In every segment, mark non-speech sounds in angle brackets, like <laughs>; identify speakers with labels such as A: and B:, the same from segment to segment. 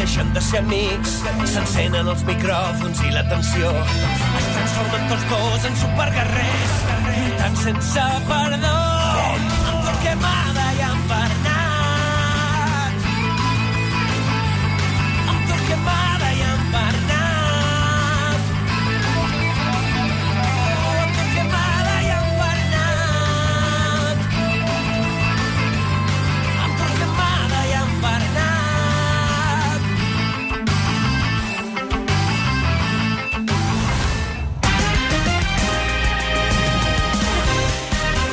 A: deixen de ser amics, s'encenen els micròfons i l'atenció. Es transformen tots dos en superguerrers, lluitant sense perdó. Amb Torquemada i amb Bernat. Amb Torquemada i amb Bernat. Amb Torquemada i amb Bernat. Amb Torquemada i amb Bernat.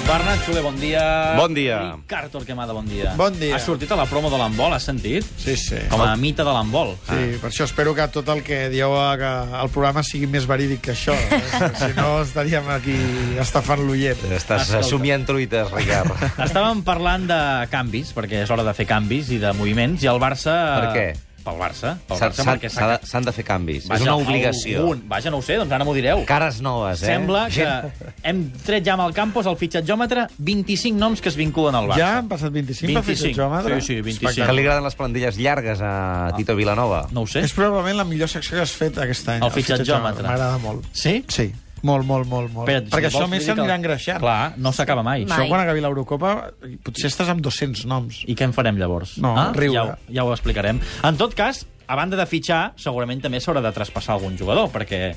B: Bernat Soler, bon dia.
C: Bon dia.
B: Ricard Torquemada, bon dia.
D: Bon dia.
B: Ha sortit a la promo de l'handbol, has sentit?
D: Sí, sí.
B: Com a mita de l'handbol.
D: Sí, per això espero que tot el que dieu a- que al programa sigui més verídic que això.
B: <laughs>
D: Eh? Si no, estaríem aquí estafant l'oient.
C: Estàs
B: Escolta.
C: somiant truites, Ricard.
B: Estàvem parlant de canvis, perquè és hora de fer canvis i de moviments, i el Barça...
C: Per què?
B: Pel Barça. Pel
C: S'han-
B: Barça,
C: S'han
B: perquè s'ha-
C: s'ha de- s'han de fer canvis. És
B: Vaja,
C: una obligació.
B: Algun. Vaja, no ho sé, doncs ara m'ho direu.
C: Cares noves, eh?
B: Sembla que
C: Gent-
B: hem tret ja amb el Campos, el fitxatjòmetre, 25 noms que es vinculen al Barça.
D: Ja han passat 25,
B: 25.
D: Jòmetre?
B: Sí, sí, 25.
C: Que li agraden les plantilles llargues a Tito Vilanova.
B: No ho sé.
D: És probablement la millor secció que has fet aquest any.
B: El fitxatjòmetre.
D: fitxatjòmetre. M'agrada molt.
B: Sí?
D: Sí, molt, molt, molt. molt.
B: Espera't, si
D: Perquè
B: vols,
D: això més
B: vull dir que-
D: s'anirà engreixant.
B: Clar, no s'acaba mai.
D: Això
E: Mai.
D: quan acabi l'Eurocopa potser estàs amb 200 noms.
B: I què en farem llavors? Ah,
D: No, riure.
B: Ja, ho- ja ho explicarem. En tot cas, a banda de fitxar, segurament també s'haurà de traspassar algun jugador, perquè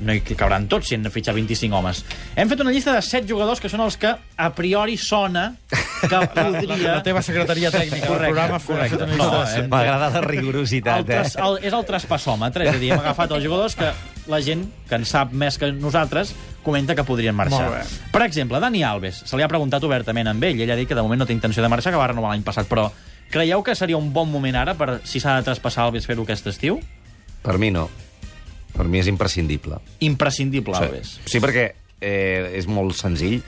B: no hi cabran tots si han de fitxar 25 homes. Hem fet una llista de 7 jugadors que són els que a priori sona que
D: <laughs> La,
B: podria...
D: la teva secretaria tècnica del
B: Correcte,
D: programa ha fet una llista
B: No,
D: de
B: eh?
D: cent.
C: M'agrada la
B: el
C: rigorositat, eh?
B: tras, el, és el traspassòmetre, és a dir, hem agafat els jugadors que la gent, que en sap més que nosaltres, comenta que podrien
D: Molt
B: marxar.
D: bé.
B: Per exemple, Dani Alves, se li ha preguntat obertament amb ell, ell ha dit que de moment no té intenció de marxar, que va renovar l'any passat, però creieu que seria un bon moment ara per, si s'ha de traspassar Alves, fer-ho aquest estiu?
C: Per mi no. Per mi és imprescindible.
B: Imprescindible,
C: Sí.
B: Alves.
C: Sí, perquè eh, és molt senzill.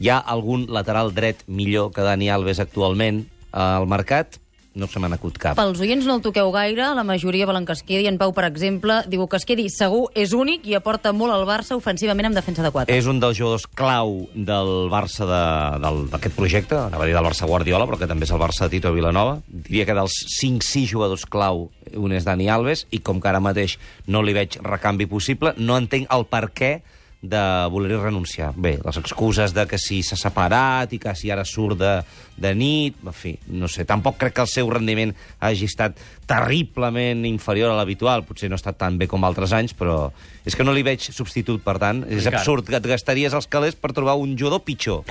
C: Hi ha algun lateral dret millor que Dani Alves actualment al mercat? No se me n'acut cap.
E: Pels oients no el toqueu gaire, la majoria volen que es quedi. En Pau, per exemple, diu que es quedi segur, és únic i aporta molt al Barça ofensivament amb defensa de 4.
C: És un dels jugadors clau del Barça de- del- d'aquest projecte, anava a dir del Barça Guardiola, però que també és el Barça de Tito Vilanova. Diria que dels 5-6 jugadors clau, un és Dani Alves, i com que ara mateix no li veig recanvi possible, no entenc el per què de voler renunciar. Bé, les excuses de que si s'ha separat i que si ara surt de, de nit, en fi, no sé, tampoc crec que el seu rendiment hagi estat terriblement inferior a l'habitual, potser no ha estat tan bé com altres anys, però és que no li veig substitut, per tant, és
B: Ricard.
C: absurd que et gastaries els calés per trobar un jugador pitjor.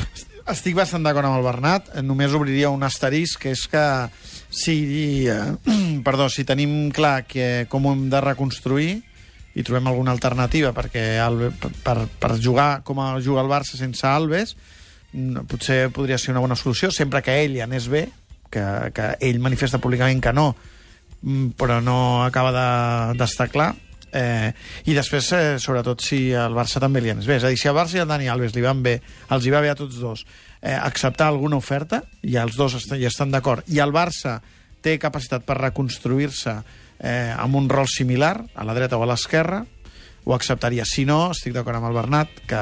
D: Estic bastant d'acord amb el Bernat. Només obriria un asterisc, que és que si, eh, <clears throat> perdó, si tenim clar que com ho hem de reconstruir i trobem alguna alternativa perquè el, per, per jugar com a jugar el Barça sense Alves mm, potser podria ser una bona solució sempre que ell hi anés bé que, que ell manifesta públicament que no mm, però no acaba de- d'estar de, clar eh, i després eh, sobretot si al Barça també li anés bé és a dir, si al Barça i al Dani Alves li van bé els hi va bé a tots dos eh, acceptar alguna oferta i els dos est hi estan d'acord i el Barça té capacitat per reconstruir-se eh, amb un rol similar a la dreta o a l'esquerra ho acceptaria. Si no, estic d'acord amb el Bernat, que,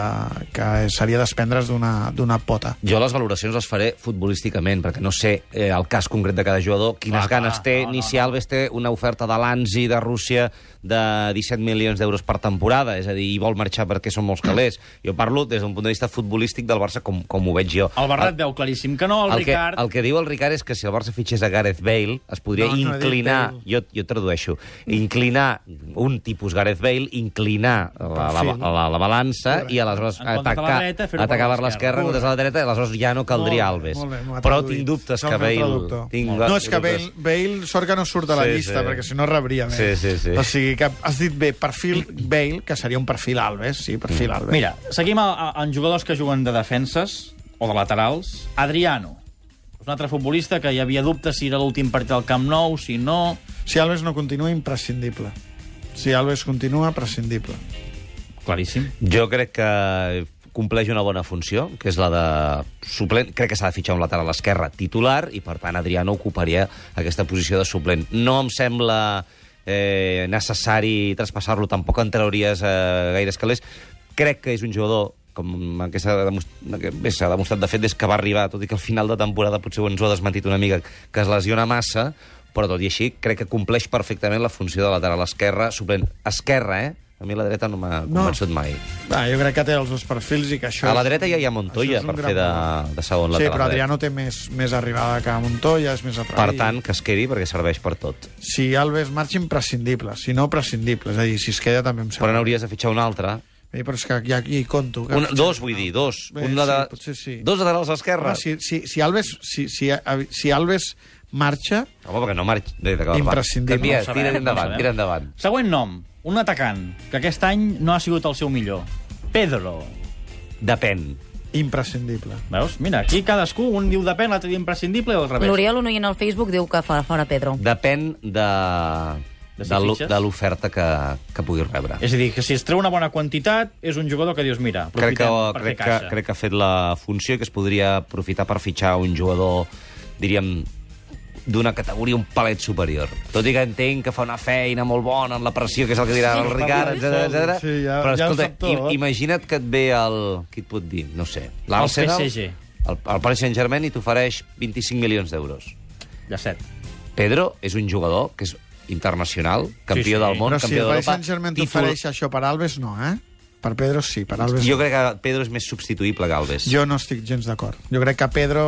D: que seria desprendre's d'una d'una pota.
C: Jo les valoracions les faré futbolísticament, perquè no sé eh, el cas concret de cada jugador, quines
B: Clar, clar,
C: ganes té,
B: no,
C: Ah, no, ni
B: no,
C: si Alves té una oferta de l'Anzi de Rússia de 17 milions d'euros per temporada, és a dir, i vol marxar perquè són molts calés. Jo parlo des d'un punt de vista futbolístic del Barça com, com ho veig jo.
B: El Bernat veu claríssim que no, el,
C: el, que,
B: Ricard...
C: el que diu el Ricard és que si el Barça fitxés a Gareth Bale es podria no,
D: No, no he dit
C: inclinar,
D: Bale.
C: jo, jo tradueixo, inclinar un tipus Gareth Bale, inclinar la, la,
D: Perfil.
C: la, la, la balança
D: Correcte.
C: i aleshores
B: En comptes de la
C: atacar,
B: dreta, fer-ho per
C: atacar per
B: l'esquerra.
C: l'esquerra en comptes de la dreta, i aleshores ja no caldria
D: Molt bé,
C: Alves.
D: molt bé, m'ho ha
C: Però
D: traduït.
C: tinc dubtes
D: És el
C: que
D: meu
C: Bale...
D: traductor.
C: Tinc
D: No, és que
C: dubtes.
D: Bale, Bale sort que no surt de la
C: Sí,
D: llista,
C: sí.
D: perquè si no rebria més.
C: Sí, sí, sí.
D: O sigui, que has dit bé, perfil Bale, que seria un perfil Alves, sí,
C: Mm.
D: perfil Alves.
B: Mira, seguim a, a, en jugadors que juguen de defenses o de laterals. Adriano, és un altre futbolista que hi havia dubtes si era l'últim partit del Camp Nou, si no...
D: Si Alves no continua, imprescindible. Si Alves continua, prescindible.
B: Claríssim.
C: Jo crec que compleix una bona funció, que és la de suplent. Crec que s'ha de fitxar un lateral esquerre titular i, per tant, Adriano ocuparia aquesta posició de suplent. No em sembla eh, necessari traspassar-lo, tampoc en trauries eh, gaires calés. Crec que és un jugador com que s'ha demostrat, bé, s'ha demostrat de fet des que va arribar, tot i que al final de temporada potser ens ho ha desmentit una mica, que es lesiona massa, però tot i així crec que compleix perfectament la funció de lateral esquerra, suplent esquerra, eh? A mi la dreta no m'ha convençut mai.
D: Va, jo crec que té els dos perfils i que això...
C: A la
D: és-
C: dreta ja hi ha Montoya
D: això és un
C: per
D: gran
C: fer de,
D: problema.
C: de segon
D: Sí,
C: lateral.
D: però
C: dret.
D: Adriano té més, més arribada que Montoya, és més
C: Per
D: atrevit.
C: tant, que es quedi perquè serveix per tot.
D: Si Alves marxa, imprescindible. Si no, prescindible. És a dir, si es queda també em
C: Però
D: sembla.
C: n'hauries de fitxar un altre.
D: Eh, però és que ja hi conto. Que...
C: Un, dos, vull dir, dos.
D: Bé,
C: un de,
D: sí, potser sí.
C: Dos laterals
D: Home,
C: esquerra.
D: Ah, si, si, si, Alves, si, si, si Alves marxa,
C: Home, perquè no marx.
D: Imprescindible.
C: Canvia,
D: No ho
B: sabem,
C: tira
B: no ho
C: endavant,
B: sabem.
C: tira endavant.
B: Següent nom, un atacant, que aquest any no ha sigut el seu millor. Pedro.
C: Depèn.
D: imprescindible.
B: Veus? Mira, aquí cadascú, un diu depèn, l'altre diu imprescindible i al revés.
E: L'Oriol, un oient al Facebook, diu que fa fora Pedro.
C: Depèn de,
B: De si
C: de, l'o-
B: fitxes?
C: de l'oferta que, que puguis rebre.
B: És a dir, que si es treu una bona quantitat, és un jugador que dius, mira, aprofitem
C: crec que,
B: per
C: crec,
B: fer
C: que,
B: caixa.
C: crec que ha fet la funció i que es podria aprofitar per fitxar un jugador, diríem, d'una categoria un palet superior. Tot i que entenc que fa una feina molt bona en la pressió, que és el que dirà el Ricard, etc etc.
D: Sí, ja-
C: però
D: ja ho
C: escolta,
D: sap tot. eh?
C: i- imagina't que et ve el... Qui et pot dir? No ho sé.
B: PSG.
C: El, el Paris Saint-Germain i t'ofereix 25 milions d'euros.
B: Ja set.
C: Pedro és un jugador que és internacional, campió
B: sí.
C: del món,
D: Però si
C: campió
D: el Paris
C: d'Europa...
D: Saint-Germain
C: títol-
D: t'ofereix això per Alves, no, eh? Per Pedro sí, per Alves
C: Jo
D: jo,
C: crec que Pedro és més substituïble que Alves.
D: jo no estic gens d'acord. Jo crec que Pedro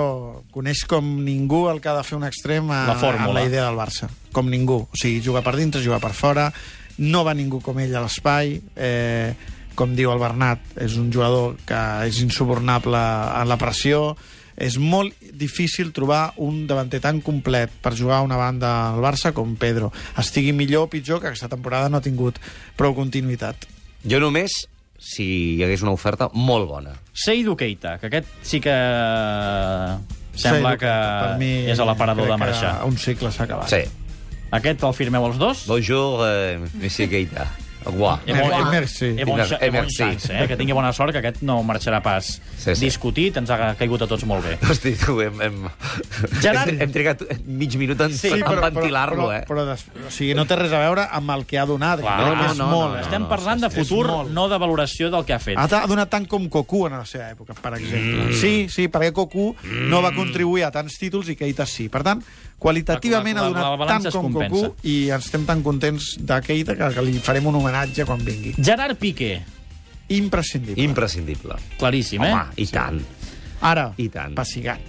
D: coneix com ningú el que ha de fer un extrem a,
B: La fórmula.
D: a la idea del Barça. Com ningú. O sigui, juga per dintre, juga per fora, no va ningú com ell a l'espai... Eh, com diu el Bernat, és un jugador que és insubornable a la pressió, és molt difícil trobar un davanter tan complet per jugar a una banda al Barça com Pedro. Estigui millor o pitjor, que aquesta temporada no ha tingut prou continuïtat.
C: Jo només si hi hagués una oferta molt bona.
B: Seidu Keita, que aquest sí que sembla
D: Sí,
B: que
D: per mi
B: és a l'aparador
D: crec
B: de marxar.
D: que Un cicle s'ha acabat.
C: Sí.
B: Aquest el firmeu els dos?
C: Bonjour, eh, Messi Keita. Guà.
B: Eh, bon-
D: Merci.
B: eh,
D: Merci.
B: eh, bon-
C: Eh,
B: eh, bon
C: merci.
B: chance, eh, que tingui bona sort, que aquest no marxarà pas
C: Sí, sí.
B: discutit, ens ha caigut a tots molt bé.
C: Hosti, tu, hem, hem...
B: Gerard.
C: <laughs> hem, hem trigat mig minut en, sí,
B: Sí,
C: en
B: però-
C: ventilar-lo, eh?
D: Però, però, des, o sigui, no té res a veure amb el que ha donat.
B: Clar,
D: Crec que
C: no,
D: és
C: no,
D: molt,
C: no,
D: eh?
B: Estem
C: no,
B: parlant de
D: és- és
B: futur,
D: molt.
B: no de valoració del que ha fet.
C: Ah.
D: Ha, ta- ha donat tant com Cocu en la seva època, per exemple. Mm. Sí, sí, perquè Cocu mm. no va contribuir a tants títols i Keita sí. Per tant, qualitativament
B: La- la-
D: ha
B: la
D: donat
B: balança
D: tant
B: es
D: com
B: compensa.
D: Cocu i estem tan contents de Keita que, que li farem un homenatge quan vingui.
B: Gerard Piqué,
D: Imprescindible.
C: Imprescindible.
B: claríssim, eh?
C: Home, i tant.
D: Ara,
C: I tant.
D: Pessigat.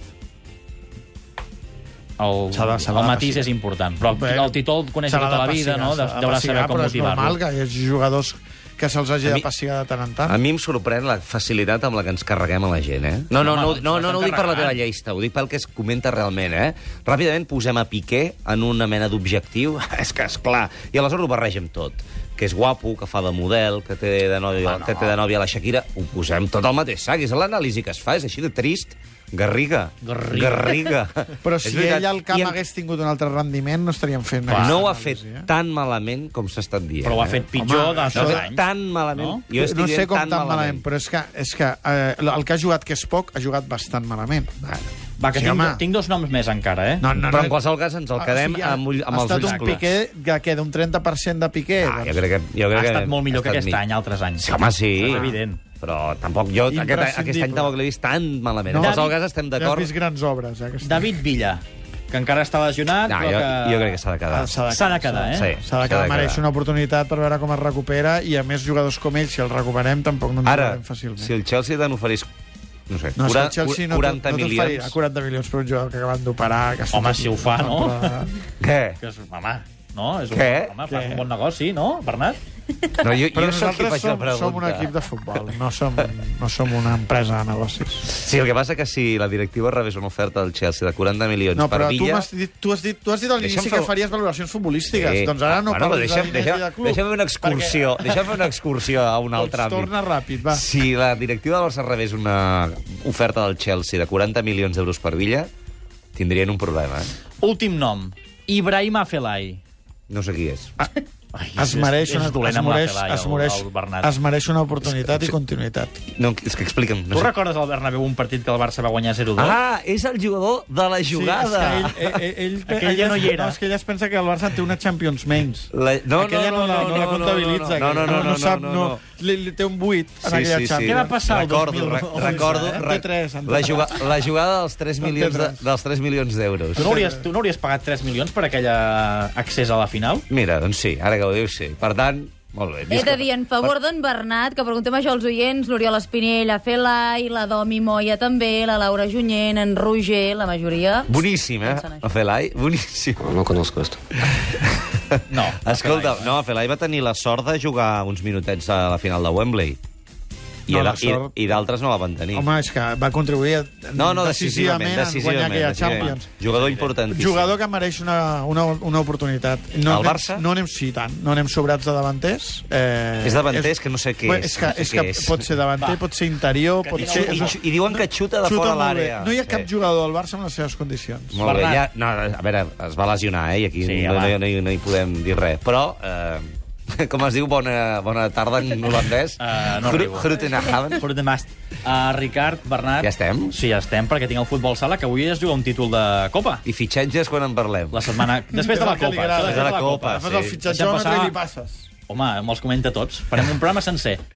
B: El,
D: S'ha de- s'ha de
B: el matís
D: passigar.
B: és important, però el títol el coneix
D: s'ha
B: tota la
D: de
B: vida,
D: passigar,
B: no?
D: s'ha
B: De,
D: de
B: deurà
D: passigar,
B: saber com
D: però És normal
B: motivar-lo.
D: que hi hagi jugadors que se'ls hagi
C: A
D: de
C: mi-
D: passigar de tant en tant.
C: A mi em sorprèn la facilitat amb la que ens carreguem a la gent, eh? No, no, no, no,
B: Home,
C: no, no, no ho dic per la
B: carregant.
C: teva llista, ho dic pel que es comenta realment, eh? Ràpidament posem a Piqué en una mena d'objectiu, <laughs> és que és clar, i aleshores ho barregem tot que és guapo, que fa de model, que té de nòvia, que té de nòvia la Shakira, ho posem tot al mateix sac. És l'anàlisi que es fa, és així de trist. Garriga.
B: Garriga.
C: Garriga.
D: Però
C: És
D: si
C: veritat.
D: ell al camp
C: I
D: en...
C: en-
D: hagués tingut un altre rendiment, no estaríem fent... aquesta
C: No ho ha
D: anàlisi,
C: fet
D: eh?
C: tan malament com s'ha estat dient.
B: Però ho ha
C: eh?
B: fet pitjor
D: Home,
B: de
D: això
B: dos
D: de-
B: anys.
C: Tan malament.
B: No?
C: Jo estic
D: no sé
C: dient
D: com
C: tan
D: malament, però és que, és que eh, el que ha jugat, que és poc, ha jugat bastant malament.
C: Bueno.
B: Va, que
D: Sí,
B: tinc,
D: home.
B: tinc dos noms més encara, eh?
D: No, no,
C: Però
D: no.
C: en qualsevol cas ens el quedem
D: sigui, ha-
C: amb, ull, amb els
D: Ah, Ha
C: ulls
D: estat un eh,
C: clars.
D: piqué que queda un 30% de piqué. doncs,
C: Ah, jo crec que, jo crec
B: ha
C: que
B: estat molt millor
C: ha
B: que
C: estat
B: aquest
C: mi-
B: any, altres anys.
C: Sí, home, sí.
B: És evident.
C: Però tampoc jo aquest, aquest any
D: Imprescindible.
C: tampoc l'he vist tan malament.
D: No,
C: en qualsevol
B: David-
C: cas estem
D: Ja has
C: d'acord.
D: vist grans obres, eh? aquesta.
B: David Villa, que encara està lesionat,
C: No,
B: però
C: jo,
B: que...
C: jo crec que s'ha de quedar.
D: Ah, s'ha de-
B: S'ha de quedar, eh?
C: Sí.
D: S'ha de quedar, mereix una oportunitat per veure com es recupera i, a més, jugadors com ell, si el recuperem, tampoc no ens
C: Ara,
D: jugarem fàcilment.
C: si el Chelsea te n'oferís no sé,
D: No, és que
C: 40,
D: el Chelsea no,
C: 40
D: no t'oferirà
C: milions...
D: 40 milions per un jugador que acaben d'operar... que està
B: Home,
D: tot-
B: si ho fa, no?
D: Però-
C: Què?
B: Que és, home, no? És un,
C: Què?
B: home, fas un bon negoci, no, Bernat?
C: No, jo,
D: Però
C: jo sóc qui
D: nosaltres
C: faig la
D: som,
C: pregunta.
D: som un equip de futbol, no som, no som una empresa de negocis.
C: Sí, el que passa que si la directiva rebés una oferta del Chelsea de 40 milions
D: No,
C: per
D: però tu,
C: Villa...
D: m'has dit, tu, has dit, tu has dit a l'inici
C: Deixa'm
D: que
C: fer-
D: faries valoracions futbolístiques.
C: Sí.
D: Doncs ara no
C: bueno,
D: parles
C: deixa'm,
D: de diners
C: deixa'm,
D: i de club.
C: Deixa'm fer una excursió, deixa'm fer una excursió a un
D: Doncs
C: altre àmbit.
D: torna ràpid, va.
C: Si la directiva del Barça rebés una oferta del Chelsea de 40 milions d'euros per Villa, tindrien un problema. Eh?
B: Últim nom, Ibrahim Afelai.
C: No sé qui és.
D: Ah,
B: Ai,
D: Es mereix,
B: és
D: una,
B: dolent
D: es,
B: amb la
D: mereix,
B: Celaya,
D: es, mereix,
B: el- el Bernat.
D: es mereix una oportunitat i continuïtat.
C: No, és que explica'm. No
B: Tu
C: sé.
B: recordes al Bernabéu un partit que el Barça va guanyar 0-2?
C: Ah, és el jugador de la jugada.
D: Sí, és que ell, ell, ell,
B: <laughs>
D: ell,
B: Aquell ja no hi era.
D: No, és que ell es pensa que el Barça en té una Champions menys.
C: La... No, no,
D: aquella
C: no, no,
D: la,
C: no,
D: la
C: no,
D: comptabilitza.
C: No, no, no,
D: aquella.
C: no, no,
D: sap,
C: no,
D: no,
C: no.
D: Li, li té un buit en aquella Champions.
B: Què va passar el
C: recordo,
B: 2011,
C: re- recordo
B: eh?
C: re-
D: T3, en
C: la,
D: T3.
C: juga, la jugada dels 3
D: En
C: milions de,
D: T3.
C: dels 3 milions d'euros.
B: Tu no, hauries, tu no hauries pagat 3 milions per aquell eh, accés a la final?
C: Mira, doncs sí, ara que ho dius, sí. Per tant, molt bé.
E: He
C: visca.
E: de dir, en favor d'en Bernat, que preguntem això als oients, l'Oriol Espinell, la Felai, la Domi Moya també, la Laura Junyent, en Roger, la majoria...
C: Boníssim, eh?
E: Pensen això.
C: Felai, boníssim.
D: <laughs>
F: No conozco esto.
B: No.
C: Escolta, no, Felai va tenir la sort de jugar uns minutets a la final de Wembley. I,
D: No,
C: era-
D: la sort.
C: i, i d'altres no la van tenir.
D: Home, és que va contribuir
C: no, no, decisivament,
D: decisivament, en guanyar
C: decisivament.
D: aquella
C: decisivament.
D: Champions.
C: Jugador importantíssim.
D: Jugador que mereix una, una, una oportunitat. No
C: El
D: anem-
C: Barça?
D: No anem, sí, tant. No anem sobrats de davanters. Eh,
C: És davanters, que no sé què
D: Bé,
C: és,
D: És que,
C: no sé
D: és
C: què
D: que
C: és.
D: pot ser davanter, pot ser interior, pot
C: I,
D: ser...
C: xu- i, xu- I diuen que xuta de
D: Xuta
C: fora
D: molt bé.
C: l'àrea.
D: No hi ha cap
C: Sí.
D: jugador del Barça amb les seves condicions.
C: Molt bé, ja,
B: Bernat.
C: no, a veure, es va lesionar, eh, i aquí
B: Sí,
C: sí, no,
B: home.
C: no, no, hi- no hi podem dir res. Però, eh, <laughs> com es diu, bona, bona tarda en holandès?
B: Eh, no arribo.
C: Groetenhaven.
B: Por de mast. Uh, Ricard, Bernat...
C: Ja estem?
B: Sí, ja estem, perquè tinc el futbol sala, que avui es juga un títol de Copa.
C: I fitxatges quan en parlem.
B: La setmana...
D: <laughs>
B: Després de la
D: que li
B: Copa.
D: agrada.
B: després de la
C: Copa,
D: Fas el
C: sí.
D: fitxatjòmetre
B: Deixa
D: i
B: passar-
D: li passes.
B: Home, me'ls comenta tots. Farem un programa sencer.